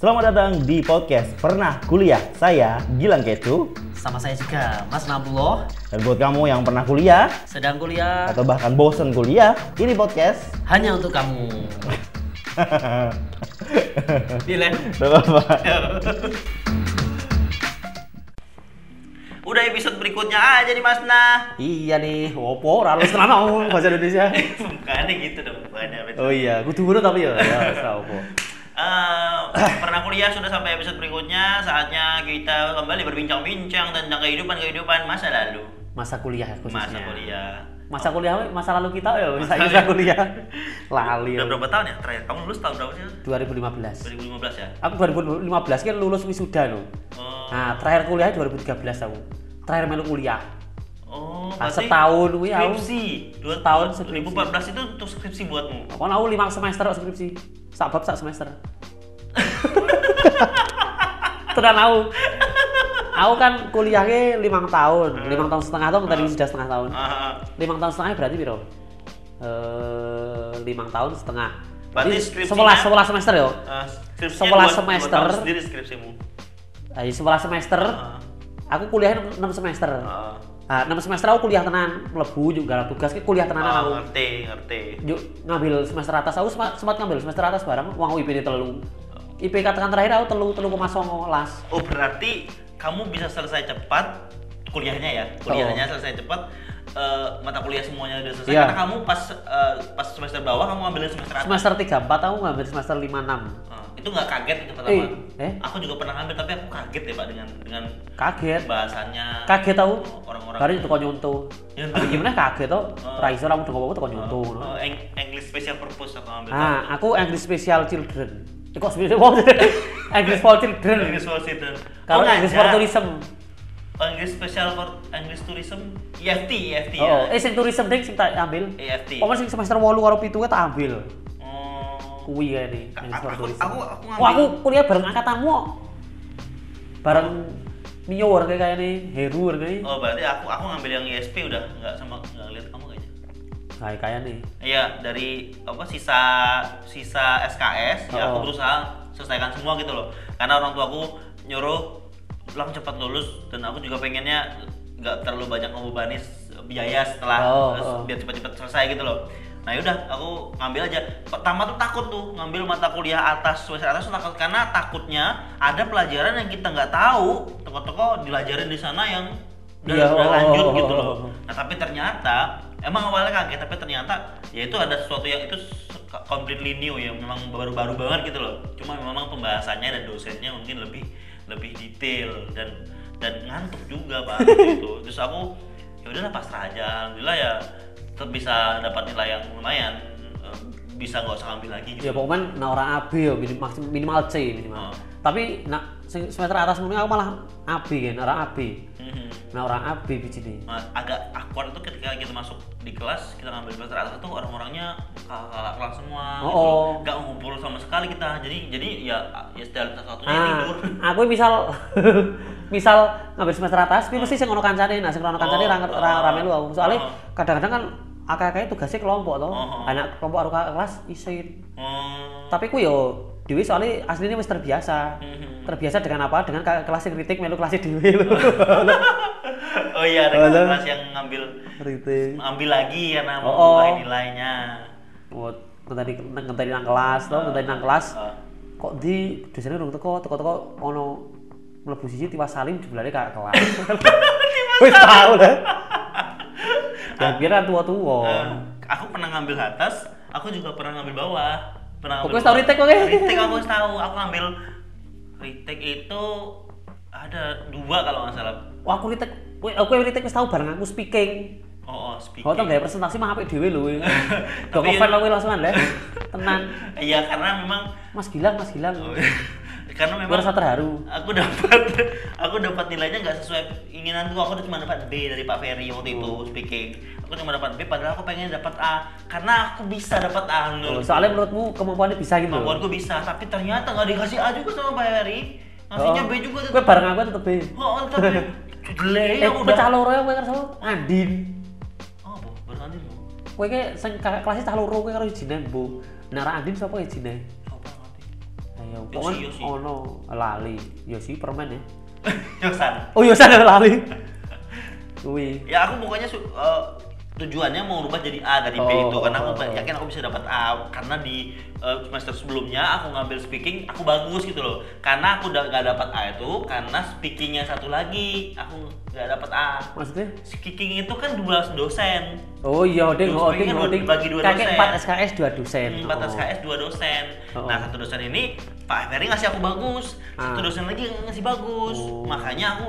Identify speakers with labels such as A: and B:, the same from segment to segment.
A: Selamat datang di podcast Pernah Kuliah. Saya Gilang Kecu.
B: Sama saya juga, Mas Nabullah.
A: Dan buat kamu yang pernah kuliah
B: Sedang kuliah
A: atau bahkan bosen kuliah, ini podcast.
B: hanya untuk kamu. Dile.
A: Gak apa-apa.
B: Udah episode berikutnya aja nih Mas Nah.
A: Iya nih, opo ralus tenan ngomong bahasa Indonesia.
B: Bukan gitu dong, bukan
A: Oh iya, kudu ngono tapi ya, ya wis lah, opo.
B: Eh, pernah kuliah sudah sampai episode berikutnya saatnya kita kembali berbincang-bincang tentang kehidupan-kehidupan masa lalu
C: masa kuliah ya khususnya
B: masa kuliah
C: masa kuliah we, masa lalu kita ya bisa bisa kuliah lali
B: udah berapa tahun ya terakhir kamu lulus tahun berapa sih
C: 2015
B: 2015 ya
C: aku 2015 kan lulus wisuda no
B: oh,
C: nah terakhir kuliah 2013 aku terakhir melu kuliah
B: oh
C: nah,
B: berarti
C: setahun kuwi aku
B: skripsi dua
C: Setahun
B: tahun
C: skripsi.
B: 2014 itu untuk skripsi buatmu
C: kon aku 5 semester kok skripsi sak bab sak semester tenan aku aku kan kuliahnya 5 tahun
B: Eh.
C: 5 tahun setengah tahun tadi sudah setengah tahun
B: Ah,
C: lima tahun setengah berarti piro? Eh, lima tahun setengah.
B: Berarti
C: Berarti
B: skripsinya-
C: sebelas sebelas semester yo.
B: ah, skripsinya
C: Sekolah
B: dua- dua
C: semester.
B: tahun sendiri skripsimu
C: Ayo sebelas semester.
B: Ah,
C: Aku kuliah enam semester.
B: ah.
C: Ah, enam semester aku kuliah tenan, mlebu juga garap tugas, ki kuliah tenan
B: Ah,
C: aku.
B: ngerti ngerti
C: Yuk ngambil semester atas, aku sempat, sempat ngambil semester atas bareng, uang IP ini telu. IPK tekan terakhir aku telu telu koma songo las.
B: Oh berarti kamu bisa selesai cepat kuliahnya ya,
C: Oh.
B: kuliahnya selesai cepat, eh, mata kuliah semuanya udah selesai.
C: Iya.
B: Karena kamu pas eh, pas semester bawah kamu ambil semester atas.
C: Semester tiga empat aku ngambil semester lima enam.
B: Eh, itu nggak kaget itu pertama.
C: Eh, eh.
B: Aku juga pernah ngambil tapi aku kaget ya pak dengan dengan
C: Kaget,
B: bahasannya
C: kaget aku.
B: orang-orang.
C: Baru itu nyuntuh.
B: Nyuntuh.
C: Tapi gimana kaget tuh? Raiso aku udah ngomong tuh
B: Eh,
C: nyuntuh. no.
B: eh, Eng- English Special Purpose aku ambil.
C: Ah, aku English Special Children. Eh, kok sebenarnya wong English for Children.
B: English for Student.
C: Kalau
B: Oh,
C: English for
B: ngajak.
C: Tourism.
B: English Special for English Tourism. EFT, EFT ya. E
C: Oh, eh sing tourism ding sing tak ambil.
B: EFT.
C: Pokoke sing semester 8 karo 7 kuwi tak ambil.
B: Oh.
C: Kuwi ya ini. English for
B: Aku-
C: Tourism.
B: aku- aku ngambil-
C: Wah, aku kuliah bareng angkatanmu. kok. Bareng Mio war kayak kayak nih, Heru war kayak
B: Oh berarti aku aku ngambil yang ISP udah nggak sama nggak lihat kamu kayaknya.
C: kayak kayak Nah, nih.
B: Iya dari apa sisa sisa SKS ya
C: Oh.
B: aku berusaha selesaikan semua gitu loh. Karena orang tua aku nyuruh lang cepat lulus dan aku juga pengennya nggak terlalu banyak membebani s- biaya setelah
C: Oh,
B: eh,
C: oh.
B: biar cepat-cepat selesai gitu loh. Nah yaudah aku ngambil aja. Pertama tuh takut tuh ngambil mata kuliah atas semester atas tuh takut karena takutnya ada pelajaran yang kita nggak tahu toko-toko dilajarin di sana yang udah,
C: Iya,
B: udah
C: oh,
B: lanjut
C: oh, oh,
B: gitu
C: oh,
B: loh.
C: oh.
B: Nah tapi ternyata emang awalnya kaget tapi ternyata ya itu ada sesuatu yang itu s- completely new ya memang baru-baru banget gitu loh. Cuma memang pembahasannya dan dosennya mungkin lebih lebih detail dan dan ngantuk juga pak gitu. Terus aku ya udahlah pasrah aja alhamdulillah ya tetap bisa dapat nilai yang lumayan eh, bisa nggak usah ambil lagi gitu.
C: Ya pokoknya nah orang AB ya minim- maksim- minimal C minimal.
B: Oh.
C: Tapi nah sing semester atas mungkin aku malah AB kan, orang AB.
B: Mhm.
C: Nah orang AB biji nih.
B: Nah, agak awkward itu ketika kita masuk di kelas kita ngambil semester atas itu orang-orangnya kakak kelas semua
C: Oh,
B: gitu.
C: oh.
B: nggak ngumpul sama sekali kita jadi jadi ya ya setiap satu satunya
C: Ah,
B: tidur
C: aku misal misal ngambil semester atas, tapi mesti sing ono kancane. Nah, sing ono kancane
B: Oh,
C: ra ra
B: ah,
C: rame lu aku. Soale
B: ah.
C: kadang-kadang kan akeh-akeh tugasnya kelompok to.
B: Ah, ah.
C: Anak kelompok karo kakak kelas isin.
B: hmm.
C: Tapi ku yo dhewe soalnya aslinya wis terbiasa.
B: Mhm.
C: Terbiasa dengan apa? Dengan kakak kelas yang kritik melu kelas e dhewe lho.
B: oh iya ada
C: Halo.
B: kelas yang ngambil
C: Kritik.
B: ambil lagi karena mau
C: Oh, oh.
B: nilai nilainya
C: Oh, ngenteni ngenteni nang kelas to, ngenteni nang kelas.
B: Ah.
C: Kok di dosennya urung teko, teko-teko ono mlebu siji tiwas salim jebulane kakak kelas. Wis tau lah. Dan kira tua-tua.
B: Eh, aku pernah ngambil atas aku juga pernah ngambil bawah pernah ngambil
C: Pokoknya tahu retake, oke.
B: retake aku harus tahu aku ngambil retake itu ada dua kalau nggak salah
C: Wah, aku ritek, kowe aku ritek wis tau bareng aku speaking.
B: oh, oh speaking
C: Kok tau gaya presentasi mah apik dhewe lho. Dok
B: Tapi-
C: ngefan lho langsungan lah. Tenan.
B: Iya karena memang
C: Mas Gilang, Mas Gilang.
B: Oh, iya. karena
C: Gue
B: memang
C: rasa terharu.
B: aku dapat aku dapat nilainya nggak sesuai inginanku aku cuma dapat B dari Pak Ferry waktu itu
C: Oh.
B: speaking aku cuma dapat B padahal aku pengen dapat A karena aku bisa dapat
C: Oh,
B: A menurut
C: Soalnya menurutmu kemampuannya bisa gitu. lho.
B: kemampuanku bisa tapi ternyata nggak dikasih A juga sama Pak Ferry ngasihnya
C: Oh.
B: B juga
C: Kowe bareng aku tetep B.
B: oh tapi jelek
C: Eh,
B: aku
C: pecah
B: udah
C: loro ya kowe kersa Andin.
B: oh boh, baru nanti mau
C: Kowe Nah, ki sing kakak kelasnya cah loro kowe karo ijinan, Bu. Nek ora Andin sapa ijine?
B: coba nanti
C: Ayo iya
B: Yosi,
C: pokoknya
B: Yosi.
C: ono lali Yosi permen ya
B: Yosan.
C: oh Yosi ada lali Wih,
B: Ya aku pokoknya su- eh, tujuannya mau rubah jadi A dari B
C: Oh.
B: itu karena aku yakin aku bisa dapat A karena di eh, semester sebelumnya aku ngambil speaking aku bagus gitu loh karena aku udah nggak dapat A itu karena speakingnya satu lagi aku nggak dapat A
C: maksudnya?
B: speaking itu kan 12 dosen
C: Oh iya, oding, Terus oding,
B: pengen
C: oding.
B: bagi dua dosen. Hmm,
C: Kakek 4 SKS 2 dosen.
B: empat
C: Oh.
B: SKS dua dosen
C: Oh.
B: nah satu dosen ini Pak Ferry ngasih aku bagus satu
C: Ah.
B: dosen lagi ngasih bagus
C: Oh.
B: makanya aku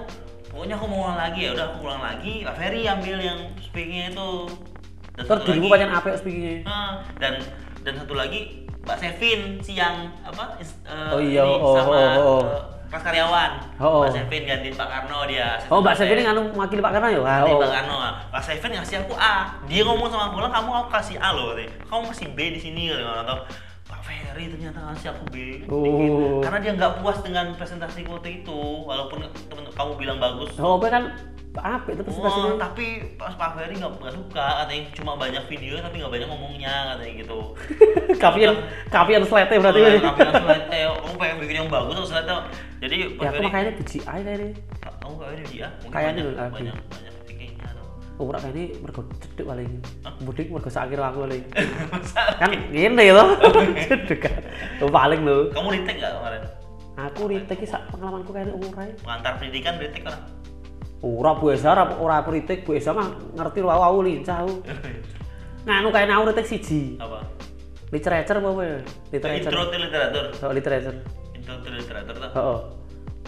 B: pokoknya aku mau ulang lagi ya udah aku ulang lagi Pak Ferry ambil yang speakingnya itu Dan
C: Terus
B: satu
C: dirimu
B: lagi-
C: pancen apik speakingnya.
B: Ah, dan dan satu lagi Pak Sevin siang apa is- eh,
C: Oh iya,
B: ini
C: oh,
B: sama
C: oh, oh, oh.
B: eh, Mas Karyawan
C: Oh, oh.
B: Pak Sevin gantiin Pak Karno dia
C: Oh, Mbak
B: asisten
C: Sevin ini nganu wakil Pak Karno ya? Wah,
B: gantiin
C: Oh,
B: Pak Karno Pak Sevin ngasih aku A dia ngomong sama aku lah kamu aku kasih A loh katanya kamu masih B di sini katanya atau Pak Ferry ternyata ngasih aku B dikit.
C: Oh.
B: karena dia nggak puas dengan presentasi waktu itu walaupun temen kamu bilang bagus
C: Oh, apa kan apik itu presentasinya.
B: Oh, tapi pas Pak Ferry nggak nggak suka katanya cuma banyak video tapi nggak banyak ngomongnya katanya gitu.
C: Kapian kapian slete berarti.
B: Berarti Iya, slide kamu pengen bikin yang bagus atau slide Jadi Pak
C: Ya, aku
B: Ferry,
C: makanya biji ae kayaknya.
B: kamu Pak Ferry dia mungkin
C: Kayaknya
B: banyak
C: dulu, Aldi.
B: banyak banyak pikirnya atau
C: Ora Oh, kayaknya mergo cedek paling. Mudik mergo sakir aku paling.
B: Masa-
C: Kan ngene to. Cedek kan. Lo paling lo.
B: Kamu retake nggak kemarin?
C: Aku retake iki sak pengalamanku kayaknya umur ae.
B: Pengantar pendidikan retake orang.
C: Ora Bu Esa, ora ora kritik Bu Esa mah ngerti lho aku lincah aku. Nganu kayak aku kritik siji.
B: Apa?
C: Literature apa apa ya? Literature.
B: Intro to literatur.
C: Oh, literature.
B: Intro to literatur tuh.
C: Heeh.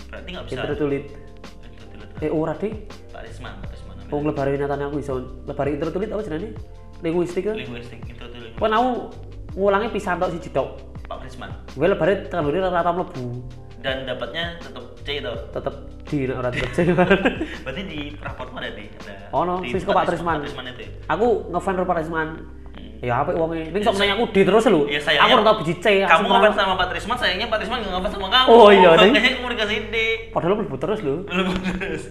B: Berarti nggak bisa.
C: Literature to lit.
B: Intro to literatur.
C: Eh ora dik.
B: Pak Risman, Pak Risman.
C: Wong lebar winatane aku iso. Lebar intro to lit apa jenenge? Linguistik. kan?
B: Linguistik, intro to linguistik.
C: Kan aku ngulangi pisan tok siji tok.
B: Pak Risman.
C: Gue lebare kalori rata mlebu.
B: Dan dapatnya tetap C tuh.
C: Tetep di nek ora tetep sing.
B: Berarti di rapotmu ada di ada.
C: Ono,
B: di
C: sis ke Oh,
B: tempat
C: Pak Trisman.
B: Pak Trisman itu. ya?
C: Aku ngefan karo Pak Risman. Ya apik wonge. Ning sok nanya aku D terus lho.
B: Iya
C: Aku
B: sayangnya.
C: ora tau biji C. aku
B: Kamu ngomong
C: sembarang.
B: sama Pak Trisman, sayangnya Pak Trisman nggak ngomong sama kamu.
C: Ya, Oh, iya, Ding.
B: Makanya kamu dikasih D.
C: Padahal mlebu terus lho.
B: Belum terus.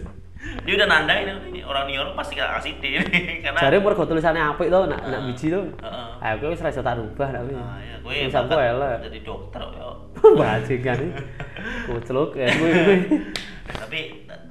B: Dia udah nandain ini orang New York pasti nggak kasih D ini, karena.
C: Jare mergo tulisannya apik to, nak nak
B: Nah. Heeh.
C: biji to.
B: Heeh.
C: Ah, aku wis ra iso tak rubah nak kuwi.
B: Nah, ya, gue
C: Wis
B: bakat
C: aku elek.
B: jadi dokter ya.
C: Bajingan iki. Kucluk ya kuwi kuwi.
B: tapi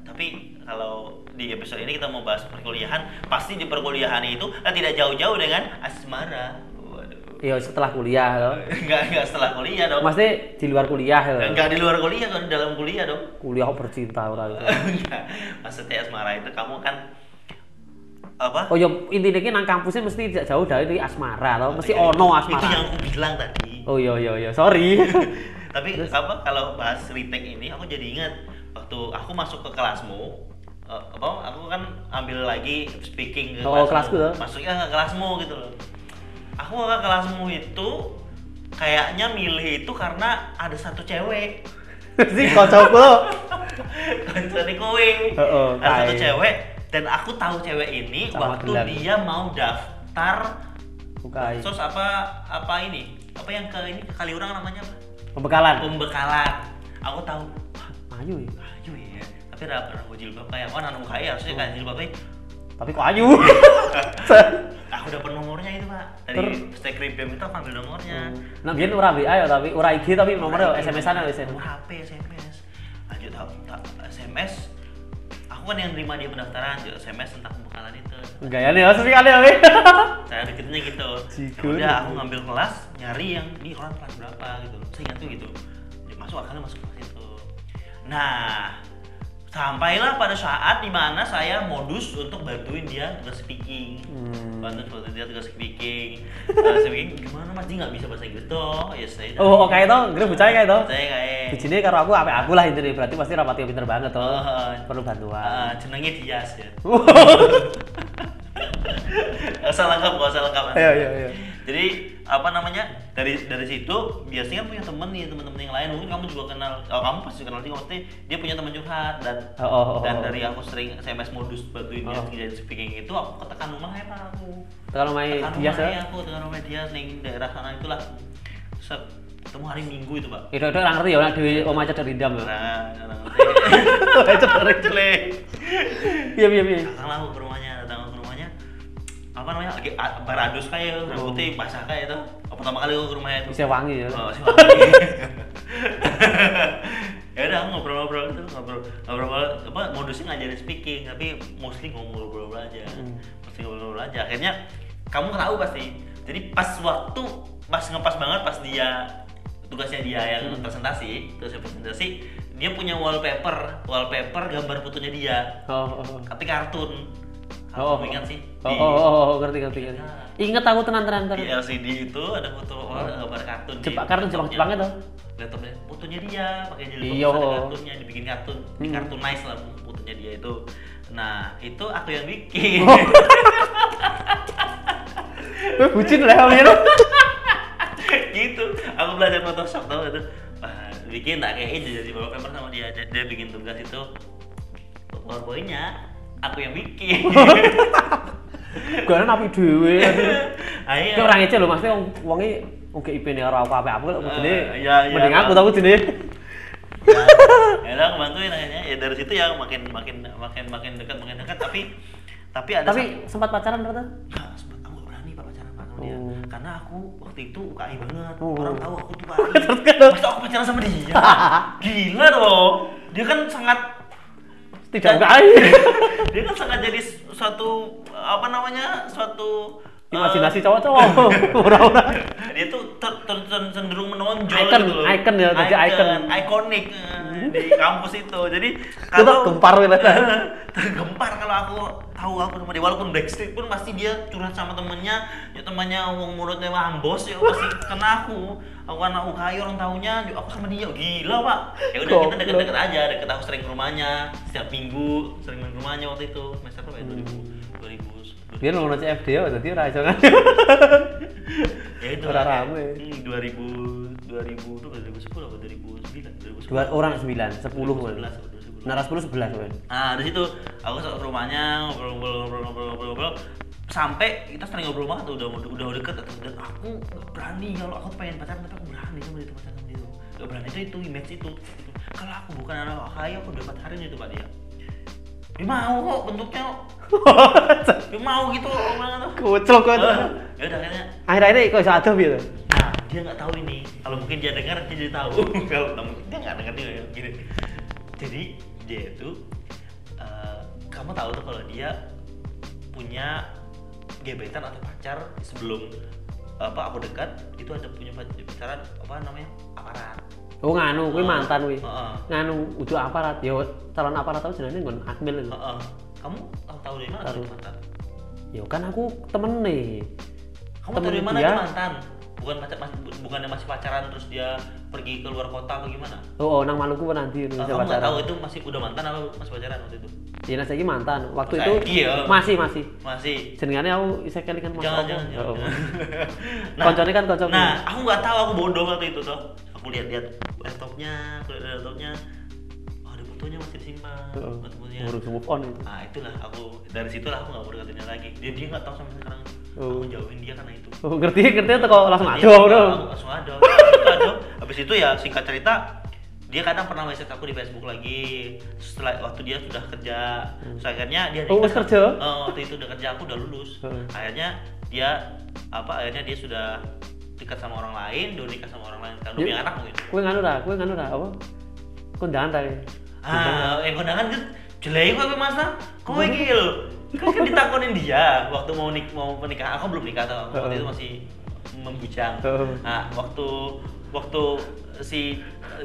B: tapi kalau di episode ini kita mau bahas perkuliahan, pasti di perkuliahan itu eh, tidak jauh-jauh dengan asmara. Waduh.
C: Ya setelah kuliah to.
B: Enggak enggak setelah kuliah dong.
C: Maksudnya di luar kuliah ya.
B: Enggak di luar kuliah, kalau di dalam kuliah dong.
C: Kuliah kok bercinta ora ya. iso.
B: Enggak. Maksudnya asmara itu kamu kan apa?
C: Oh ya intine iki nang kampusnya mesti tidak jauh dari asmara to. Mesti
B: Itu-
C: ono
B: Iya, Itu yang
C: asmara.
B: aku bilang tadi.
C: Oh iya iya iya, sorry.
B: Tapi apa kalau bahas retake ini aku jadi ingat waktu aku masuk ke kelasmu eh, apa aku kan ambil lagi speaking ke
C: Oh, kelasku
B: kelasmu.
C: tuh.
B: Masuknya ke kelasmu gitu loh. Aku ke kelasmu itu kayaknya milih itu karena ada satu cewek
C: Mesti kocokku to.
B: Kancane kowe.
C: Heeh,
B: Ada satu
C: kae.
B: cewek dan aku tahu cewek ini
C: Sama
B: waktu
C: gelar.
B: dia mau daftar
C: Bukai.
B: sos apa apa ini? Apa yang ke ini ke Kaliurang namanya apa?
C: Pembekalan.
B: Pembekalan. Aku tahu. Wah,
C: Ayu ya.
B: ayo ya. Tapi ada ada jilbab kayak oh anak muka ya harusnya kayak jilbab ya.
C: Tapi kok ayu.
B: Aku dapat nomornya itu, Pak. Dari Stekri BEM itu aku ambil nomornya.
C: Nah, biyen ora WA ya tapi ora IG tapi nomornya SMS-an ya
B: Nomor
C: SMS.
B: HP, SMS. Lanjut tak tak- SMS. Aku kan yang nerima dia pendaftaran, jadi SMS tentang pembekalan itu.
C: Gayane ya, sepi kali ya. weh.
B: saya deketnya gitu
C: Jigo.
B: udah aku ngambil kelas nyari yang ini orang kelas berapa gitu saya ingat tuh gitu Ya, masuk akalnya masuk kelas itu nah sampailah pada saat dimana saya modus untuk bantuin dia tugas speaking
C: Hmm.
B: bantu bantuin dia tugas speaking tugas speaking gimana mas dia nggak bisa bahasa Inggris toh ya saya
C: Oh, oke to, ngira bocah kae to.
B: saya kayak
C: Bijine karo aku apik aku lah intine berarti pasti rapati pinter banget to.
B: Oh.
C: Perlu bantuan.
B: Ah, jenengnya Dias ya Gak usah lengkap, gak usah lengkap.
C: Iya, iya, iya.
B: Jadi apa namanya dari dari situ biasanya punya temen nih temen-temen yang lain mungkin kamu juga kenal oh, kamu pasti kenal juga maksudnya dia punya teman curhat dan
C: Oh, oh, oh,
B: dan
C: oh.
B: dari aku sering SMS modus bantuin dia
C: Oh.
B: jadi speaking itu aku ketekan rumah ya pak aku
C: Tekan omahe
B: tekan
C: dia
B: rumah
C: ya.
B: ya aku tekan rumah dia nih daerah sana itulah Set, ketemu hari minggu itu pak
C: Itu itu orang ngerti ya, orang dewi omah cedek rindam ya.
B: nah, nah,
C: Cedek. Iya iya iya.
B: datang lah aku ke rumahnya datang aku ke rumahnya apa namanya lagi a- baradus
C: Oh.
B: kayak rambutnya basah kayak itu pertama kali aku ke rumahnya itu
C: Bisa wangi ya.
B: Oh, si Wangi. gitu, sih ngajarin speaking tapi mostly ngobrol-ngobrol aja
C: Hmm.
B: mostly ngobrol-ngobrol aja akhirnya kamu tahu pasti jadi pas waktu pas ngepas banget pas dia tugasnya dia yang
C: Hmm.
B: presentasi tugasnya presentasi dia punya wallpaper wallpaper gambar fotonya dia
C: Oh, oh, oh.
B: tapi kartun
C: Oh.
B: aku ingat sih
C: Oh,
B: di,
C: oh, oh, oh, oh, ngerti, ngerti, ngerti. Ingat aku tenan-tenan
B: di
C: tenan.
B: LCD itu ada foto orang gambar kartun di
C: Jepang- Oh. kartun
B: laptopnya.
C: Jepang-Jepang itu?
B: laptopnya fotonya dia pakai jilbab
C: Iya.
B: terus ada kartunnya dibikin kartun di
C: Hmm.
B: kartun nice lah fotonya dia itu nah itu aku yang bikin
C: Oh. Weh, bucin lah kamu ya.
B: gitu aku belajar Photoshop tau itu Wah, bikin tak kayak ini jadi wallpaper sama dia dia, dia bikin tugas itu powerpointnya aku yang bikin
C: Oh. Gue kan api dewe.
B: Iya.
C: Ki
B: ayo
C: orang ngece lho, maksudnya wong wonge oke IP-ne ora apa-apa. Aku lho
B: Eh,
C: mudune.
B: iya, iya,
C: Mending aku
B: Bang.
C: tahu jenenge.
B: ya udah aku bantuin akhirnya ya dari situ ya makin makin makin makin dekat makin dekat tapi tapi ada
C: Tapi sempat pacaran ternyata.
B: Enggak, sempet aku gak berani pak pacaran Pak, sama dia.
C: Oh.
B: Karena aku waktu itu UKI banget.
C: Oh. kan?
B: Orang tahu aku tuh UKI. Masa aku pacaran sama dia? Gila dong. Dia kan sangat
C: Tidak
B: Eh.
C: baik.
B: dia kan sangat jadi suatu apa namanya? Suatu eh,
C: Imajinasi cowok-cowok.
B: Oh.
C: Ora-ora.
B: dia tuh ter, ter- ter- cenderung menonjol
C: Icon,
B: gitu loh.
C: icon ya, kerja icon. Hmm.
B: Ikonik eh, di kampus itu. Jadi
C: Kita
B: kalau
C: gempar wele.
B: tergempar kalau aku tahu aku sama dia walaupun backstreet pun pasti dia curhat sama temennya ya temannya wong mulutnya ambos ya pasti kena aku aku anak UKI orang tahunya juga aku sama dia gila pak ya udah kita
C: Goblok.
B: deket-deket aja deket aku sering ke rumahnya setiap minggu sering main ke rumahnya waktu itu semester berapa ya 2000 2000
C: Biar ngono CFD ya dadi ora iso kan.
B: ya itu
C: Ora
B: makanya.
C: rame.
B: Hmm, 2000 2000 itu 2010 atau 2009 2010
C: Dua orang 9, 10 kowe.
B: 11, 11.
C: Nara 10 11 kowe.
B: Nah, dari situ aku ke rumahnya ngobrol-ngobrol-ngobrol-ngobrol-ngobrol sampai kita sering ngobrol banget tuh, udah udah udah deket dan aku nggak berani kalau aku pengen pacaran tapi aku berani sama dia tuh, pacaran sama dia tuh. nggak berani itu itu image itu kalau aku bukan anak kaya aku udah pacaran itu pak dia dia mau kok bentuknya kok. dia mau gitu kok orangnya tuh
C: Kocok kowe.
B: Eh, ya udah akhirnya
C: Akhir-akhir kok iso adoh piye to?
B: nah dia nggak tahu ini kalau mungkin dia dengar dia jadi tahu kalau nggak mungkin dia nggak dengar dia nggak gini jadi dia itu eh, kamu tahu tuh kalau dia punya gebetan atau pacar sebelum apa aku dekat itu ada punya pac- pacaran apa namanya aparat
C: Oh nganu,
B: Ah.
C: kuwi mantan kuwi.
B: Heeh.
C: Nganu ujuk aparat, ya calon aparat tau jenenge nggon Akmil itu.
B: Heeh. kamu tahu tahu dari mana
C: Tahu.
B: itu mantan
C: Ya kan aku temen nih.
B: kamu tahu
C: Temen
B: dari mana
C: dia.
B: itu mantan bukan pacar masih bukannya masih pacaran terus dia pergi ke luar kota apa gimana
C: Oh, oh nang Maluku kan nanti itu
B: Eh, kamu nggak tahu itu masih udah mantan apa masih pacaran waktu itu
C: Ya nah, saiki mantan. Waktu itu
B: Saiki ya.
C: masih masih.
B: masih
C: Jenengane aku isih kelingan Mas
B: jangan
C: Opo.
B: jangan jangan.
C: Oh. Koncone kan koncone.
B: nah aku nggak tahu aku bodoh waktu itu toh aku lihat-lihat laptopnya aku lihat laptopnya oh ada fotonya masih disimpan
C: Heeh.
B: fotonya
C: Urus move on itu.
B: nah itulah aku dari situlah aku nggak mau deketinnya lagi dia dia nggak tahu sampai sekarang
C: Oh.
B: aku jauhin dia karena itu
C: Oh, ngerti ngerti teko langsung
B: Dia-
C: adoh bro.
B: aku langsung ada langsung ada habis itu ya singkat cerita dia kadang pernah message aku di Facebook lagi setelah waktu dia sudah kerja so, akhirnya dia
C: Oh, wis kerja?
B: Eh, waktu itu udah kerja aku udah lulus
C: Heeh.
B: akhirnya dia apa akhirnya dia sudah dekat sama orang lain udah nikah sama orang lain kan udah
C: Dia-
B: punya anak mungkin
C: Kuwi nganu ra, kuwi nganu ra apa? Kondangan ta. kuwi?
B: ah yang kondangan kan jelek kok mas lah kowe iki lho kan, kan ditakonin dia waktu mau nik mau menikah aku belum nikah tau waktu
C: Heeh.
B: itu masih membujang
C: Heeh.
B: nah waktu waktu si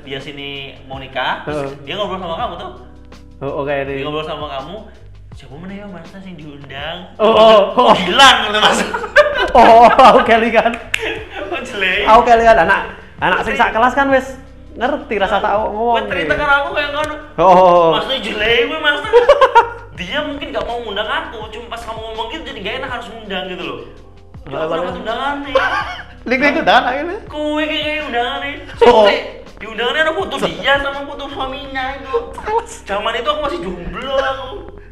B: dia sini mau nikah terus
C: Heeh.
B: dia ngobrol sama kamu tuh
C: Oh, oke
B: dia
C: ini.
B: ngobrol sama kamu siapa mana ya mas yang diundang
C: Oh, oh, oh.
B: hilang gitu mas
C: Oh, aku kelingan.
B: oh jelek
C: Aku kelingan anak anak sing sak kelas kan wis ngerti rasa tak ngomong. gitu. ya.
B: Gue cerita kan aku kayak ngono
C: Oh.
B: Maksudnya jelek gue mas Dia mungkin gak mau ngundang aku Cuma pas kamu ngomong gitu jadi gak enak harus ngundang gitu loh Ya
C: Nggak
B: aku dapat
C: apa-apa.
B: undangan nih
C: Link link kondangan akhirnya.
B: Kowe kayak kayak undangan nih
C: Oh.
B: Sampai Di undangannya ada foto dia sama foto suaminya itu Zaman itu aku masih jomblo aku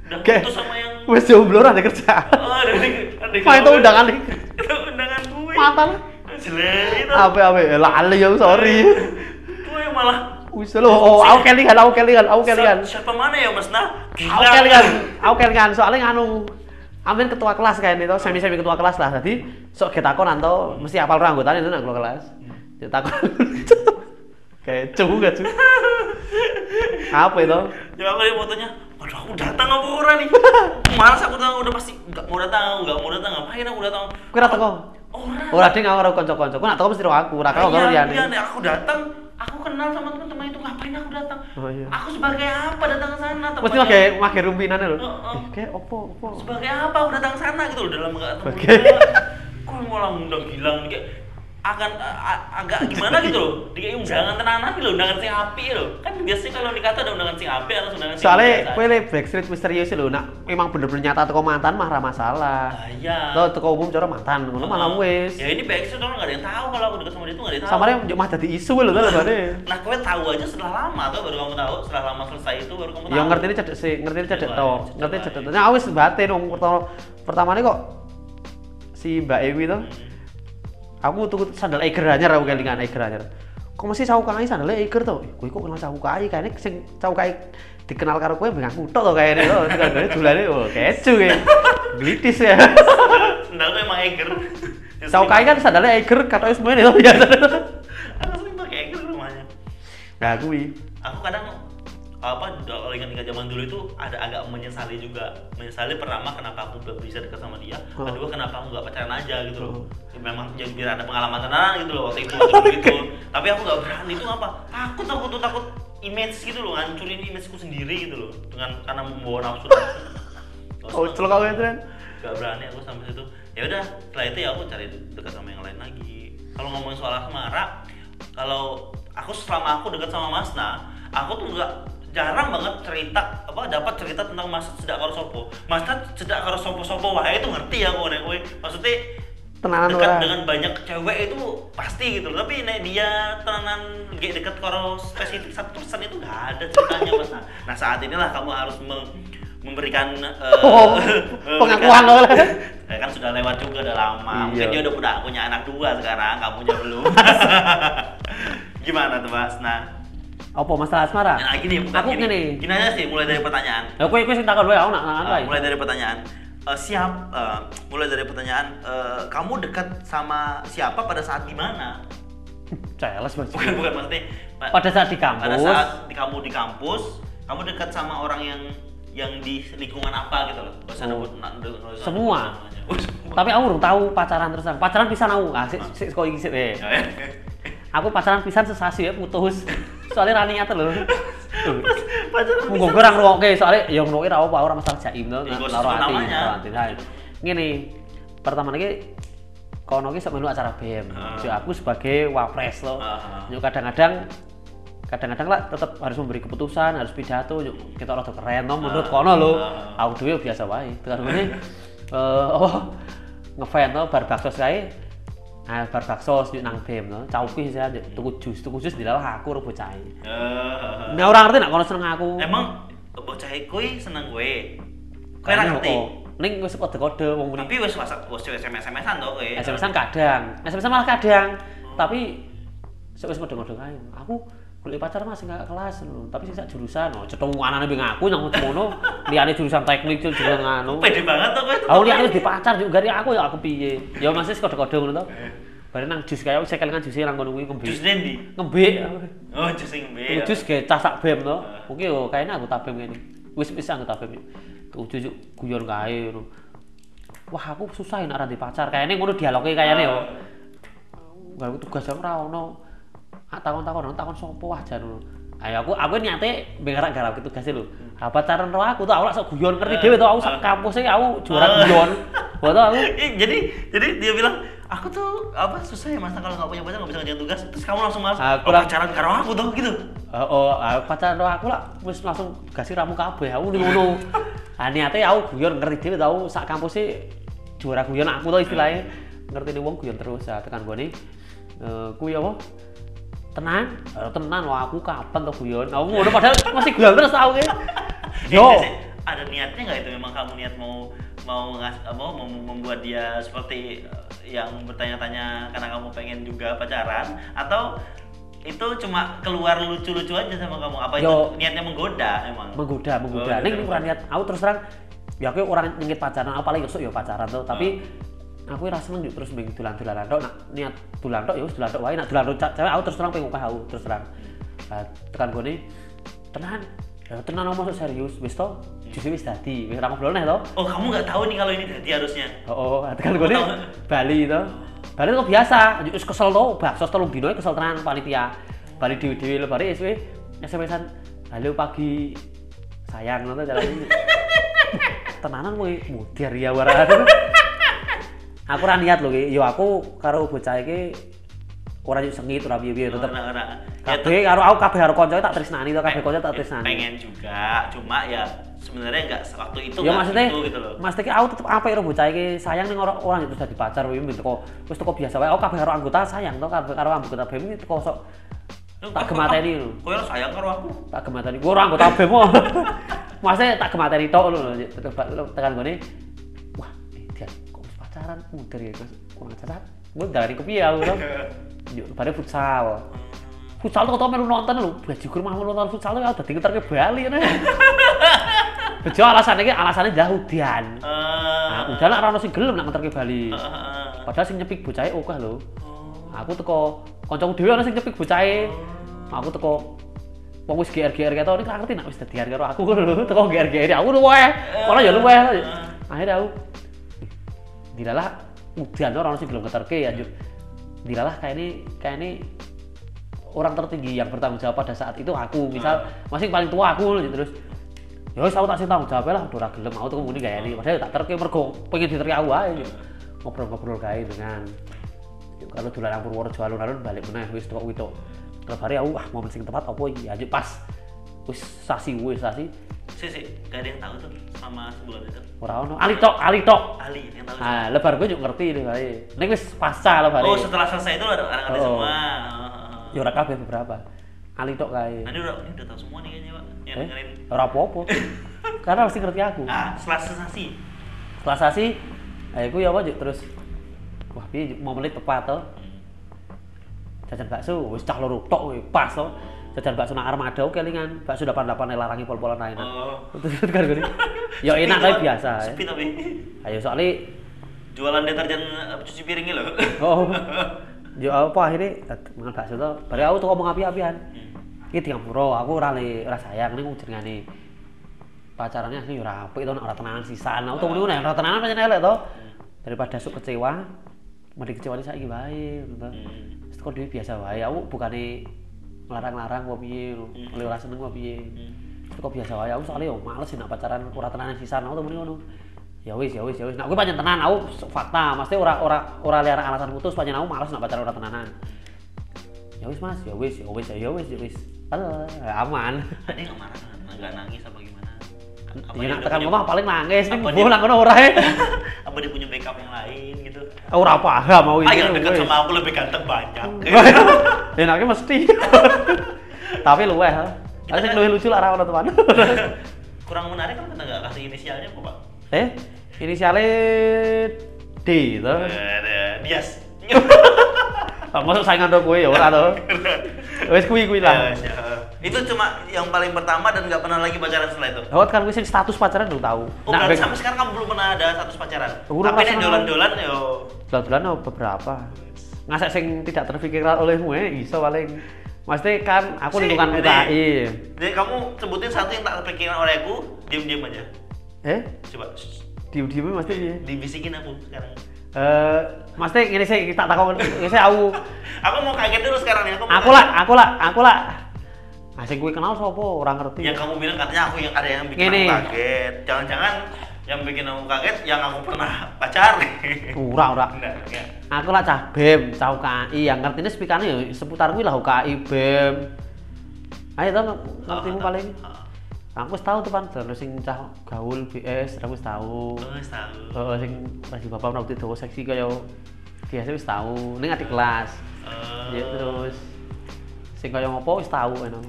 B: Udah
C: Oke.
B: putus sama yang
C: Wis jomblo ra ada kerjaan.
B: Ah, ada di- ada di-
C: Main tuh undangan nih.
B: Itu undangan gue
C: Mantan.
B: Jelek itu
C: Ape ape lali ya sorry.
B: Gue malah
C: Wis lo oh aku kelingan aku kelingan aku kelingan.
B: Siapa mana ya mas nah
C: Aku kelingan aku kelingan soalnya nganu Amin ketua kelas kan itu semi semi ketua kelas lah tadi sok kita kon atau mesti apal orang anggotanya itu nang ketua kelas kita kon kayak cubu gak cuy apa itu
B: Ya aku lihat fotonya, kok udah aku datang apa ora nih? Malas aku datang udah pasti nggak mau datang, nggak mau datang ngapain aku datang?
C: Kowe ora teko.
B: Ora.
C: Ora ding karo kanca-kanca. Kowe nak teko mesti karo aku, ora karo karo
B: Iya,
C: liyane.
B: iya, nek aku datang, aku kenal sama teman-teman itu ngapain aku datang?
C: Oh, iya.
B: Aku sebagai apa datang ke sana?
C: Mesti
B: tempatnya-
C: wage wage rumpinane lho.
B: Heeh.
C: Eh, Kayak opo opo.
B: sebagai apa aku datang ke sana gitu loh dalam nggak ketemu
C: Sebagai-
B: dia. kok malah ngundang Gilang nih, kayak akan a- a- agak gimana gitu loh dikasih undangan tenanan gitu loh undangan sing api loh kan biasanya kalau nikah tuh ada undangan sing api atau undangan sing
C: Soalnya
B: biasa.
C: kowe le backstreet misterius lho, nak memang bener-bener nyata teko mantan mah ra masalah.
B: Ah, iya
C: Tuh teko umum cara mantan, ngono malah wis.
B: ya ini backstreet orang nggak ada yang tahu kalau aku dekat sama dia tuh nggak ada yang tahu
C: Samare yo mah dadi isu lho to lebane.
B: nah kowe tahu aja setelah lama tuh baru kamu tahu setelah lama selesai itu baru kamu tahu
C: Ya ngerti ini cedek sih, ngerti ini cedek
B: Cedek
C: to,
B: wae, cedek
C: ngerti
B: wae.
C: cedek to. Nah, wis batin wong pertama pertamane kok si Mbak Ewi to.
B: Hmm.
C: Aku tuku sandal Eiger anyar aku kelingan Eiger anyar. Kok mesti cawukai sandal Eiger to? Eh, Kowe kok kenal cawukai? Kayane sing cawukai dikenal karo kowe mbek aku tok to kayane to. Sandale dolane oh kecu ya. Glitis ya.
B: sendal tuh emang eger
C: Cawukai kan sandalnya Eiger katanya semuanya to biasa.
B: aku sering pakai eger rumahnya
C: Nah, kuwi.
B: aku kadang apa kalau ingat-ingat zaman dulu itu ada agak menyesali juga menyesali pertama kenapa aku belum bisa dekat sama dia
C: Oh.
B: kedua kenapa aku nggak pacaran aja gitu
C: Oh.
B: loh Ya, memang jadi biar ada pengalaman tenanan gitu loh waktu itu waktu itu tapi aku nggak berani itu apa takut aku tuh takut image gitu loh ngancurin imageku sendiri gitu loh dengan karena membawa nafsu
C: Kau celok kau Tren.
B: gak berani aku sampai situ ya udah setelah itu ya aku cari dekat sama yang lain lagi kalau ngomongin soal asmara kalau aku selama aku dekat sama Masna aku tuh nggak jarang banget cerita apa dapat cerita tentang Masna cedak karo sopo Masna cedak karo sopo sopo wah itu ngerti ya aku nek kowe maksudnya
C: Tenanan
B: dekat
C: ora.
B: dengan banyak cewek itu pasti gitu loh. tapi nek dia tenanan gak dekat karo spesifik satu persen itu nggak ada ceritanya Masna nah saat inilah kamu harus meng- memberikan eh,
C: Oh,
B: eh,
C: pengakuan
B: mereka-
C: lo.
B: Ya kan sudah lewat juga udah lama. Mungkin
C: Iya.
B: dia udah punya, punya anak dua sekarang, kamunya belum. Gimana tuh Mas? Nah,
C: Apa masalah asmara?
B: nah gini bukan
C: Aku
B: gini.
C: ngene.
B: Gini aja sih mulai dari pertanyaan.
C: Ya kowe kowe sing takon wae aku nak nangan
B: Uh,
C: wae.
B: mulai dari pertanyaan. Eh, siap eh, mulai dari pertanyaan eh, kamu dekat sama siapa pada saat di mana?
C: Celes Mas.
B: Bukan bukan maksudnya pa-
C: Pada saat di kampus.
B: pada saat di kamu di kampus, kamu dekat sama orang yang yang di lingkungan apa gitu loh. Gak usah
C: Oh.
B: nyebut na- nggak usah
C: Semua.
B: nyebut semuanya.
C: Tapi aku belum tahu pacaran terusan. Pacaran pisan aku. Ah, sik sik kok iki sik. eh.
B: ya,
C: Aku pacaran pisan sesasi ya putus. Soalnya rani nyata lho. Tuh.
B: Pacaran
C: Munggu gue orang ngeruokke soalnya yang ngeruokke ra apa ora masalah jaim to. kan.
B: Ya, gak usah
C: Loro
B: sebut
C: ati,
B: namanya.
C: loro ati. Nah, Ngene. Pertama iki kono iki sok melu acara BM.
B: Ah.
C: Jadi aku sebagai wapres loh.
B: Ah.
C: Yuk kadang-kadang kadang-kadang lah tetap harus memberi keputusan, harus pidato. Yuk kita orang tuh keren toh menurut
B: Ah,
C: kono lo.
B: ah.
C: Aku dhewe biasa wae. Tekan ngene eh oh ngefan toh bar bakso kae. Ah bar bakso yuk nang BEM toh. Cauki saya yuk tuku jus, tuku jus dilalah aku rupo cai.
B: Eh,
C: Nah orang ngerti nak kono seneng aku.
B: Emang bocah kui seneng gue. Kowe
C: Kayaknya
B: ra ngerti.
C: kok. Ning wis kode-kode wong muni.
B: Tapi wis WhatsApp, wis SMS-an to kowe.
C: SMS-an kadang, SMS-an malah kadang. Tapi sik wis medeng-medeng ae. Aku golek pacar Mas enggak kelas lho, tapi sing sak jurusan. Oh, cetung anane mbek aku nyang ngono, liyane jurusan teknik jurusan anu.
B: Pede banget to kowe.
C: Aku liyane wis dipacar juga dari aku ya aku piye. Ya masih kode-kode ngono to. Bare nang jus kaya saya kelingan jus nang ngono kuwi
B: Jus
C: ngembik.
B: dendi.
C: Ngembik.
B: Oh, jus sing B.
C: Jus ge cah sak bem to. Oke yo kayaknya aku tabem ngene. Wis wis anggota bem. Tuh jujuk guyon kae ngono. Wah, aku susah ya nak ra di pacar. Kayaknya ngono dialoge kayaknya yo. Gak aku tugas jam ra ono. Ah takon-takon ono takon sopo wah jan ngono. Ayo aku aku nyate mbek ngarep garap tugas lho. Lah pacaran karo aku tuh aku lak sok guyon ngerti dhewe tuh aku sak kampus e aku juara
B: Ah.
C: guyon. Bodoh aku.
B: Eh, jadi jadi dia bilang aku tuh apa susah ya mas kalau nggak punya pacar nggak bisa ngerjain tugas terus kamu langsung malas
C: Aku
B: "Oh,
C: lah-
B: pacaran karo aku tuh gitu
C: Eh, Oh, ah, pacaran karo aku lah wis langsung gasi ramu kabeh aku ning ngono. Ah niate aku guyon ngerti dhewe tau sak kampus e juara guyon aku tau istilahnya. Ngerti nih wong guyon terus ya tekan gone. Eh kuwi apa? Tenang, Eh, tenang wah aku kapan tau guyon. Aku ngono padahal masih guyon terus aku ki.
B: Eh,
C: Yo.
B: jadi ada niatnya nggak itu memang kamu niat mau mau ngas- mau mem- membuat dia seperti eh, yang bertanya-tanya karena kamu pengen juga pacaran atau itu cuma keluar lucu-lucu aja sama kamu apa itu
C: Yo.
B: niatnya menggoda emang
C: menggoda menggoda
B: Oh,
C: ning
B: iya.
C: ora niat aku terus terang ya aku orang nyengit pacaran aku paling esuk ya pacaran tuh tapi
B: Hmm.
C: aku ora seneng yuk terus ming dolan-dolanan tok nak niat dolan tok ya wis dolan tok
B: Hmm.
C: wae nak dolan tok ca- cewek aku terus terang pengen ngukah aku terus terang Nah, tekan gone tenan Ya tenan masuk serius, wis to.
B: Hmm.
C: Justru wis dadi, wis ra ngobrol neh to.
B: oh kamu nggak tahu nih kalau ini dadi harusnya
C: Oh, oh, kan gue Bali itu. Bali itu biasa, wis kesel to, bakso telung dino kesel tenan panitia. Bali dhewe-dhewe lebare wis wis SMS-an. Halo pagi. Sayang ngono cara ini. Tenanan kowe mudir ya warane. Aku ora niat lho ki, yo aku karo bocah iki ora yuk sengit ora piye-piye tetep.
B: Orang- orang- ya,
C: Kabeh karo aku kabeh karo kanca tak tresnani to, kabeh
B: pe-
C: kanca tak
B: ya,
C: tresnani.
B: pengen juga cuma ya sebenarnya nggak waktu itu
C: ya
B: nggak
C: maksudnya
B: gitu, gitu loh
C: maksudnya ki aku tetep apik karo bocah iki sayang ning orang orang itu dadi pacar wae mbek teko wis teko biasa wae aku kabeh karo anggota sayang to kabeh karo anggota BEM iki teko sok tak gemateni lho
B: kau yang sayang karo aku
C: tak gemateni gua ora anggota BEM kok maksudnya tak gemateni tok lho Cik. Tetep bak- lho, tekan gone wah eh, dia kok wis pacaran muder ya Gus kurang cacat gua dari kepiye aku
B: Eh,
C: lho yo bare futsal
B: Hmm.
C: futsal tuh ketemu melu nonton lho baju kur mah melu nonton futsal tuh aku dadi ngeterke Bali nih Bejo alasannya ki alasannya dah hujan.
B: Eh,
C: Nah, udah lah rano sing gelem nak ngeterke Bali.
B: eh, eh,
C: Padahal sing nyepik bocahe oke lho. Aku teko kancaku dhewe ana sing nyepik bocahe. Aku teko wong wis GR-GR keto nek ngerti nak wis dadian karo aku ngono lho. Teko GR-GR aku luwe. Ono ya luwe. Akhirnya aku dilalah udan ora ono sing gelem ngeterke ya Jur. Dilalah kayane kayane orang tertinggi yang bertanggung jawab pada saat itu aku misal masih paling tua aku gitu terus ya wis aku tak sing tanggung jawab lah udah ora gelem aku tuh muni gaya ini padahal ya tak terke mergo pengen diterke aku ae gitu. ngobrol-ngobrol kae dengan yuk, kalau dolan Purworejo alun-alun balik meneh wis tok witok terus hari aku ah momen sing tepat apa iki aja pas wis sasi wis sasi
B: sih sih gak ada yang tahu tuh sama sebulan itu
C: ora ono ali tok ali tok
B: Ali yang tahu
C: ah lebar gue juga ngerti ini kali nek wis pasca lebar
B: oh
C: oh,
B: setelah selesai itu ada orang ada
C: Oh.
B: semua Eh,
C: ya ora kabeh beberapa ali tok kae
B: nanti udah ini udah tahu semua nih kayaknya pak yang
C: Eh,
B: dengerin
C: ora apa-apa. Karena mesti ngerti aku.
B: ah setelah sensasi
C: Kelas sasi, eh aku ya apa Juk? terus. Wah, piye Juk? mau menit tepat to.
B: Hmm.
C: Jajan bakso, wis cah loro tok kowe, pas to. Jajan bakso nang Armada oke kelingan. Bakso 88 larangi pol-polan ra enak.
B: oh
C: Terus kan gini. Ya
B: Sepi
C: enak
B: cuma-
C: tapi biasa. ya.
B: sepi tapi
C: Ayo soalnya
B: jualan deterjen eh, cuci piringnya loh
C: oh. Yo apa akhirnya dat- mangan bakso to. Bare aku tuh ngomong api-apian. Iki tiang puro, aku ora le ora sayang ning jenengane pacarannya asli ora apik to nek ora tenanan sisan. Aku tuh ngono nek ora tenanan pancen elek to. Daripada sok kecewa, mending kecewane saiki wae ngono to.
B: Hmm.
C: Wis kok dhewe biasa wae. Aku bukane ngelarang-larang apa piye,
B: Hmm.
C: oleh ora seneng apa piye. Wis kok biasa wae aku soalnya yo males sih nek pacaran ora tenanan sisan aku tuh mending ngono. Ya wis, ya wis, ya wis. Nek aku pancen tenan aku sok fakta, mesti ora ora ora liar alasan putus pancen aku males nek pacaran ora tenanan. Ya wis Mas, ya wis, ya wis, ya wis, ya wis. Alah, aman.
B: ada nggak marah nggak- nggak nangis apa gimana
C: Ya
B: Apa dia
C: nak
B: udah
C: tekan
B: punya-
C: omah paling nangis ning
B: apa
C: mbuh
B: dia-
C: nang ngono ora e.
B: apa dia punya backup yang lain gitu
C: Ora paham mau
B: ah yang dekat
C: wis.
B: sama aku lebih ganteng banyak Gitu.
C: Enaknya Ya mesti. Tapi luweh. ha. Ada sing luwih lucu lah ra ono teman.
B: kurang menarik kan kita nggak kasih inisialnya kok pak
C: Eh, inisiale D to.
B: Eh, Dias
C: Ah, Masuk saingan tok kowe ya ora to. Wis kuwi kuwi
B: Ya,
C: lah.
B: ya. itu cuma yang paling pertama dan nggak pernah lagi pacaran setelah itu
C: Hawat kan kuwi sing status pacaran lu tau.
B: iya. Oh,
C: Nak
B: berarti
C: back
B: sampai sekarang kamu belum pernah ada status pacaran.
C: Urung
B: Tapi nek
C: rasanya.
B: dolan-dolan yo.
C: dolan-dolan apa beberapa. Ngasek sing tidak terpikirkan olehmu ya iso paling. Mesti kan aku
B: Sih,
C: lingkungan iya.
B: ini.
C: UKI.
B: Jadi kamu sebutin satu yang tak terpikirkan oleh aku, diam-diam aja.
C: Eh,
B: Coba shh,
C: diem-diem mesti piye?
B: dibisikin aku sekarang.
C: Eh, mesti ngene sih kita takon ngene sih aku.
B: Aku mau kaget dulu sekarang ya. Aku, mau
C: Aku
B: kaget.
C: lah, aku lah, aku lah. Asing gue kenal sapa ora ngerti.
B: Yang kamu bilang katanya aku yang ada yang bikin
C: Gini.
B: aku kaget. Jangan-jangan yang bikin aku kaget yang aku pernah pacaran.
C: Ora ora.
B: Benar, ya.
C: Aku lah cah BEM, cah UKI yang ngertine sepikane ya seputar kuwi lah UKI BEM. Ayo to ngertimu paling.
B: Heeh.
C: Aku wis tau tuh pan terus sing cah gaul BS aku wis tau.
B: Oh, wis tahu.
C: Heeh sing pas di bapak rambut dawa seksi kaya biasa wis tau. Ning adik kelas.
B: Eh,
C: Ya terus sing kaya ngopo wis tau enak.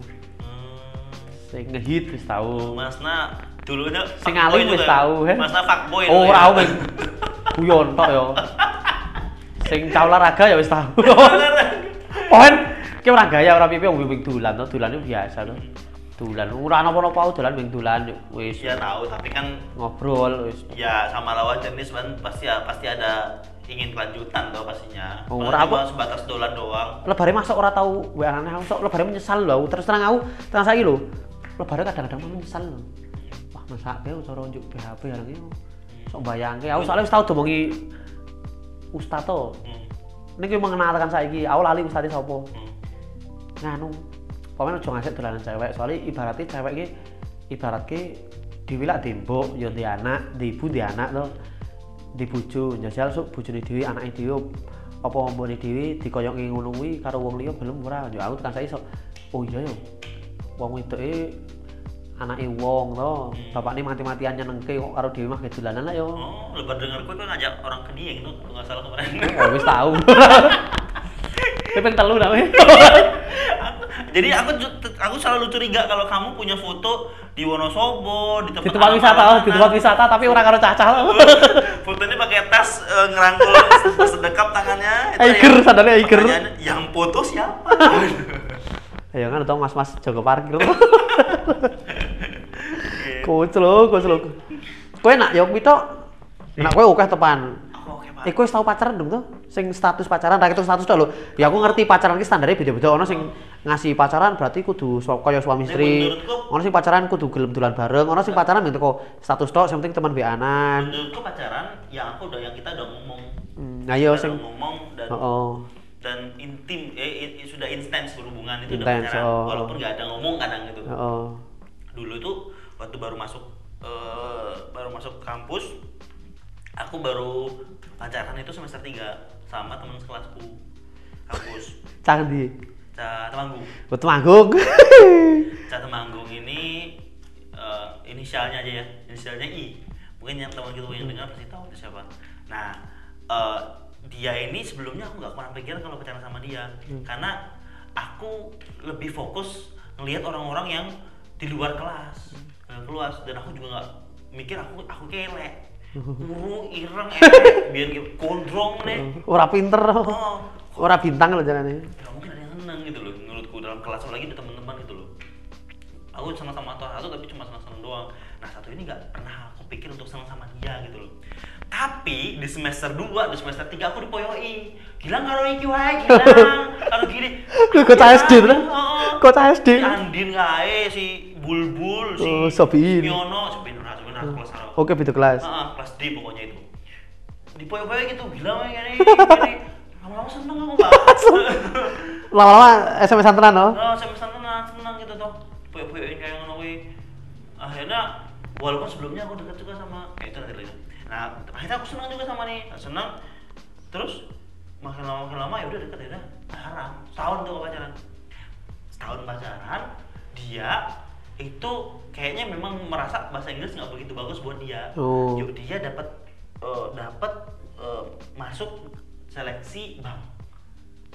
C: Sing ngehit wis
B: eh,
C: tau.
B: Masna dulunya
C: Sing
B: fuckboy
C: alim wis
B: juga.
C: tahu, he.
B: Masna fuckboy.
C: Oh,
B: dulu ya.
C: ora aku wis guyon tok ya. Sing cah olahraga ya wis tahu. Pohen ki ora gaya ora piye wong wing dolan to, dolan itu biasa to. Dolan ora napa-napa aku dolan wing dolan yuk. wis
B: Ya tahu, tapi kan
C: ngobrol wis.
B: ya sama lawan jenis kan pasti pasti ada ingin kelanjutan tuh pastinya.
C: Oh,
B: Kalau
C: ora
B: cuma sebatas dolan doang.
C: Lebare masuk ora tahu wae aneh aku sok lebare menyesal lho aku terus terang aku terang saiki lho. lebaran kadang-kadang mah menyesal lho. Wah, masa aku cara njuk BHP areng iki. Sok bayangke aku soalnya wis tau domongi ustaz to.
B: Hmm.
C: Niki mengenalkan saiki, aku lali ustaz sapa.
B: Hmm.
C: nganu pokoknya aja ngasih dolanan cewek soalnya ibaratnya cewek ini ibaratnya diwilak dembok ya di anak di ibu di anak tuh di bojo jajal sok bojone dhewe anake dhewe apa ombone dhewe dikoyongi ngono kuwi karo wong liya belum ora yo aku tekan saya sok oh iya yo wong wedoke anake wong to bapakne mati-matian nyenengke kok karo dhewe mah kedulanan lah yo
B: Oh, lebar dengar gue kan ngajak orang ke dia gitu, kalau nggak salah kemarin.
C: oh wis tau Pepeng telu namanya.
B: Aku- Jadi aku ju- aku selalu curiga kalau kamu punya foto di Wonosobo, di tempat,
C: di tempat wisata, oh, di tempat wisata tapi orang karo cacah loh.
B: Fotonya pakai tas eh, ngerangkul sedekap tangannya. itu
C: Eiger,
B: yang-
C: sandalnya eiger.
B: pertanyaannya, Yang foto siapa?
C: Ya kan atau mas-mas jaga parkir. Coach lo, coach lo. Kowe nak yo kuwi tok. Nak kowe akeh tepan.
B: Aku oke
C: Eh
B: pak.
C: kowe wis tau pacaran dong tuh? Sing status pacaran, rakyat status tok lho. Ya aku ngerti pacaran ki standarnya beda-beda. Ono sing ngasih pacaran berarti kudu so, kaya suami istri.
B: menurutku-
C: Ono sing pacaran kudu gelem dolan bareng, ono sing pacaran gitu kok status tok, sing penting teman beanan.
B: Menurutku pacaran yang aku udah yang kita udah ngomong,
C: Hmm, ayo
B: Kita udah
C: sing
B: ngomong dan
C: Oh, oh.
B: dan intim, eh, i- sudah intens berhubungan itu udah
C: Intens,
B: pacaran,
C: oh.
B: walaupun nggak ada ngomong kadang gitu.
C: Oh, oh.
B: dulu tuh waktu baru masuk eh, baru masuk kampus aku baru pacaran itu semester 3 sama teman sekelasku kampus
C: Cah ndi?
B: Ca Temanggung
C: Buat manggung.
B: Ca Temanggung ini eh, inisialnya aja ya inisialnya I mungkin yang teman gitu yang dengar pasti tahu itu siapa nah eh, dia ini sebelumnya aku nggak pernah pikiran kalau pacaran sama dia karena aku lebih fokus ngelihat orang-orang yang di luar kelas eh, kelas dan aku juga nggak mikir aku aku kele Uru, ireng, elek, biar gitu, gondrong nih
C: Ora pinter.
B: Oh,
C: Ora bintang lho jarane.
B: nggak mungkin ada yang seneng gitu loh menurutku dalam kelas apalagi ada teman-teman gitu loh aku senang sama tuh satu tapi cuma senang senang doang nah satu ini nggak pernah aku pikir untuk senang sama dia gitu loh tapi di semester 2, di semester 3 aku dipoyoi Gilang karo iki wae, Gilang Karo gini
C: Kuwi kocah SD to?
B: Heeh.
C: Kocah SD.
B: Si Andin kae, si Bulbul, si
C: Oh, Sobiin.
B: Yono Sobiin ora, Sobiin ora kelas karo
C: Oke, beda kelas.
B: Ah, ah, kelas D pokoknya itu. Di poyo-poyo gitu, gila weh gini, gini. Lama-lama seneng aku, Pak.
C: Lama-lama SMS tenan no.
B: Oh, semester seneng, seneng gitu toh. Poyo-poyoin kayak ngono kuwi. Akhirnya walaupun sebelumnya aku dekat juga sama eh, itu nanti lagi. Nah, akhirnya aku seneng juga sama nih. Nah, Seneng. Terus makin lama makin lama ya udah deket ya udah haram. Setahun tuh aku pacaran. Setahun pacaran, dia itu kayaknya memang merasa bahasa Inggris nggak begitu bagus buat dia.
C: Oh.
B: Yuk, dia dapat eh, dapat eh, masuk seleksi bank.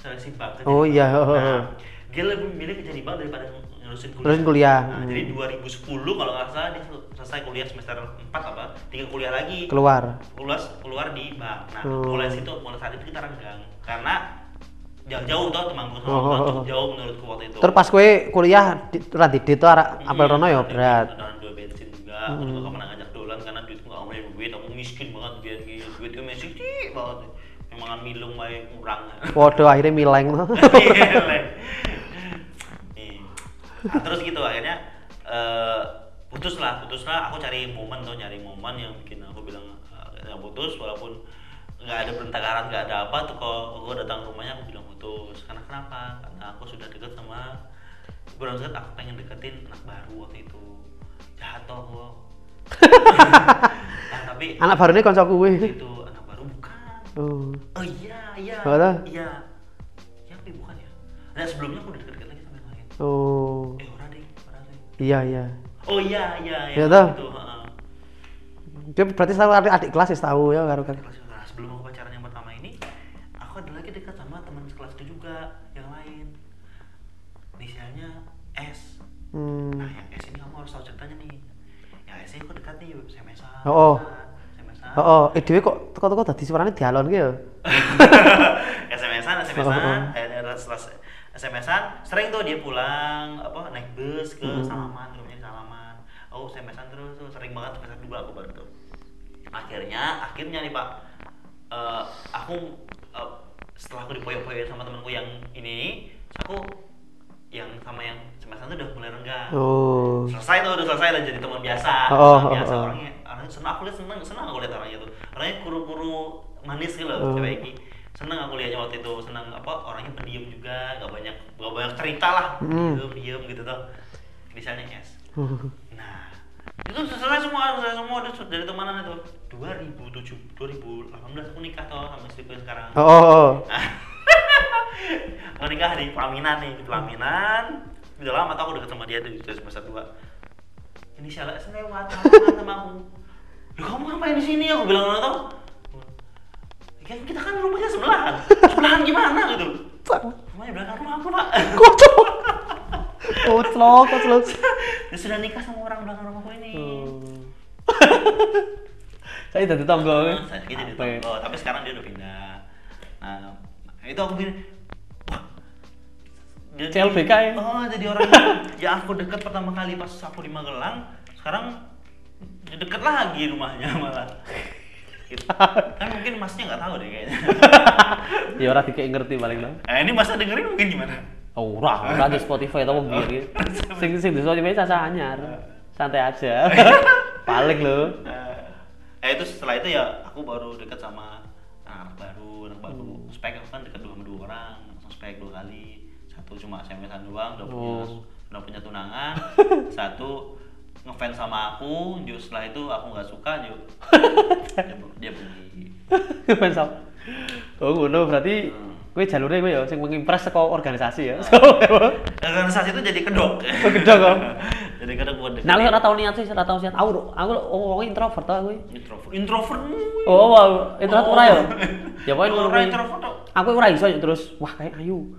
B: Seleksi bank kerja
C: Oh
B: di
C: iya,
B: bank.
C: oh, oh,
B: Nah,
C: oh.
B: dia lebih milih kerja di bank daripada ngurusin kuliah.
C: Ngurusin kuliah,
B: Nah,
C: hmm.
B: Jadi 2010 kalau nggak salah dia sel- selesai kuliah semester 4 apa, tiga kuliah lagi.
C: Keluar.
B: Keluar keluar di bank. Nah,
C: Oh.
B: mulai situ mulai saat itu kita renggang karena jauh-jauh tuh temanku sama
C: Oh, oh,
B: aku,
C: oh.
B: jauh menurutku waktu itu.
C: Terus pas kowe kuliah di ora didit to arek apel rono ya
B: Ada
C: berat. Hmm.
B: kan duit, ada duit bensin juga, aku juga gak pernah ngajak dolan karena duitku gak punya duit, aku miskin banget biar gitu, duitku masih sithik banget. Memang milung wae kurang.
C: Waduh akhirnya mileng to.
B: Nih. Nah, terus gitu akhirnya eh, putus lah, putus lah. Aku cari momen tuh, nyari momen yang bikin aku bilang eh, yang putus walaupun nggak ada pertengkaran, nggak ada apa tuh kalau aku datang ke rumahnya aku bilang putus. Karena kenapa? Karena aku sudah deket sama belum deket aku pengen deketin anak baru waktu itu jahat toh aku. nah, tapi
C: Anak barone kanca kuwe.
B: itu anak baru bukan
C: Oh.
B: Oh iya, iya.
C: Apa?
B: Iya. Iya, tapi bukan ya. Nah, sebelumnya aku udah deket-deket lagi sama yang lain.
C: Oh.
B: Eh, ora deh, ora deh.
C: Iya iya.
B: Oh iya, iya, iya.
C: Ya toh?
B: Gitu, heeh.
C: Dia berarti selalu adik, adik kelas ya tahu ya karo kan.
B: Kelas- Nah, sebelum aku pacaran yang pertama ini, aku ada lagi dekat sama teman sekelasku juga yang lain. Inisialnya S. Nah,
C: Hmm.
B: yang S ini kamu harus tahu ceritanya nih. Yang S ini aku dekat nih, SMS-an.
C: Oh, oh.
B: SMS-an.
C: Oh, oh. eh dhewe kok teko-teko dadi suarane dialon ki ya.
B: SMS-an, SMS-an, eh, eh, ras- ras- SMS-an, sering tuh dia pulang apa naik bus ke Salaman, rumahnya di Salaman. Oh, SMS-an terus tuh sering banget SMS dua aku baru tuh. Akhirnya, akhirnya nih Pak, eh, aku eh, setelah aku dipoyok-poyokin sama temanku yang ini, aku yang sama yang SMS-an tuh udah mulai renggang.
C: Oh.
B: Selesai selesai tuh udah selesai dan jadi teman biasa
C: Oh,
B: teman
C: oh,
B: biasa
C: oh.
B: orangnya orangnya senang aku lihat seneng senang aku lihat orangnya tuh orangnya kuru-kuru manis gitu loh
C: Oh.
B: cewek ini seneng aku lihatnya waktu itu seneng apa orangnya pendiam juga gak banyak gak banyak cerita lah
C: Mm.
B: diem diem gitu tuh misalnya es Nah, itu selesai semua, selesai semua udah sudah dari temanan itu. 2007, 2018 aku nikah toh sama istriku yang sekarang.
C: Oh, oh, oh.
B: aku nikah di pelaminan nih, di pelaminan. Udah lama tau aku deket sama dia dari dari semester 2. Ini salah lewat lewat sama aku. Lu kamu ngapain di sini? Aku bilang nggak tau. Kan kita kan rumahnya sebelahan. Sebelahan gimana gitu? Rumahnya belakang rumah aku, Pak.
C: Kocok. Kocok, kocok.
B: Dia sudah nikah sama orang belakang rumahku ini.
C: Oh. Saya dadi tangga kowe.
B: Nah, sakit jadi
C: ya?
B: tonggo, tapi sekarang dia udah pindah. Nah, itu aku gini. wah, jadi-
C: CLBK ya?
B: Oh, jadi orang yang, ya aku deket pertama kali pas aku di Magelang, sekarang deket lagi rumahnya malah. Gitu. Kan mungkin masnya nggak tahu deh kayaknya.
C: Ya ora dikek ngerti paling lah.
B: Nah, ini masa dengerin mungkin gimana?
C: Ora, ora di Spotify tau biar ya. Sing sing di Spotify caca anyar. Santai aja. Paling lo.
B: Eh, eh, itu setelah itu ya aku baru deket sama anak baru, anak baru.
C: Hmm.
B: Spek aku kan deket dua sama dua orang, langsung spek dua kali. Satu cuma SMS-an doang, udah punya
C: Oh.
B: udah punya tunangan. Satu ngefans sama aku, ju setelah itu aku nggak suka, ju dia, dia pergi.
C: Fans up. Oh ngono berarti kowe jalurnya kowe ya sing mengimpress saka organisasi ya.
B: Ah. Organisasi Nah, itu jadi kedok.
C: kedok, oh.
B: jadi kedok buat deket.
C: Nah, lu ora tau niat sih, ora tau niat. Aku aku wong introvert tau aku.
B: introvert. Introvert. Oh.
C: Oh, wow, introvert ora ya? Ya poin ngono
B: Orang
C: kuwi.
B: introvert kok.
C: Aku ora iso ya, terus wah kayak ayu.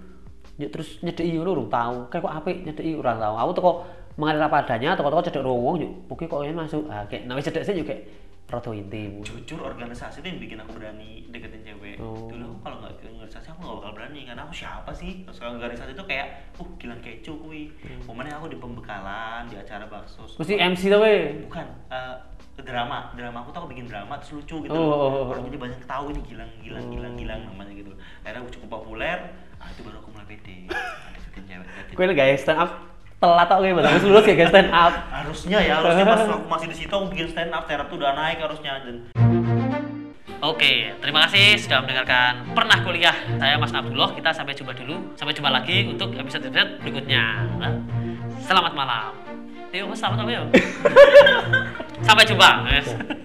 C: Ya terus nyedeki ngono urung tau. Kayak kok apik nyedeki ora tau. Aku teko mengalir apa adanya, teko-teko cedek ruang wong yo. Mungkin kok ini masuk. Ah, kayak nek cedek sih yo kayak rada intim.
B: jujur organisasi itu yang bikin aku berani deketin cewek
C: Oh.
B: dulu aku kalau nggak ke organisasi aku nggak bakal berani karena aku siapa sih terus kalau organisasi itu kayak uh gilang keco kui
C: Hmm.
B: momennya aku di pembekalan di acara bakso
C: Mesti MC to we.
B: bukan eh, drama drama aku tuh aku bikin drama terus lucu
C: Oh,
B: gitu loh.
C: oh, oh, oh.
B: orang jadi banyak tahu ini gilang gilang gilang gilang namanya gitu loh. akhirnya aku cukup populer ah, itu baru aku mulai pede Nah, deketin cewek deketin.
C: Kowe lek gawe stand up telat tok kowe, Mas. Wis lulus kayak stand up.
B: harusnya ya harusnya pas aku masih di situ aku bikin stand up stand up tuh udah naik harusnya dan
C: Oke, terima kasih sudah mendengarkan Pernah Kuliah. Saya Mas Abdullah, kita sampai jumpa dulu. Sampai jumpa lagi untuk episode-episode berikutnya. Selamat malam. Yo, selamat apa yo? sampai jumpa.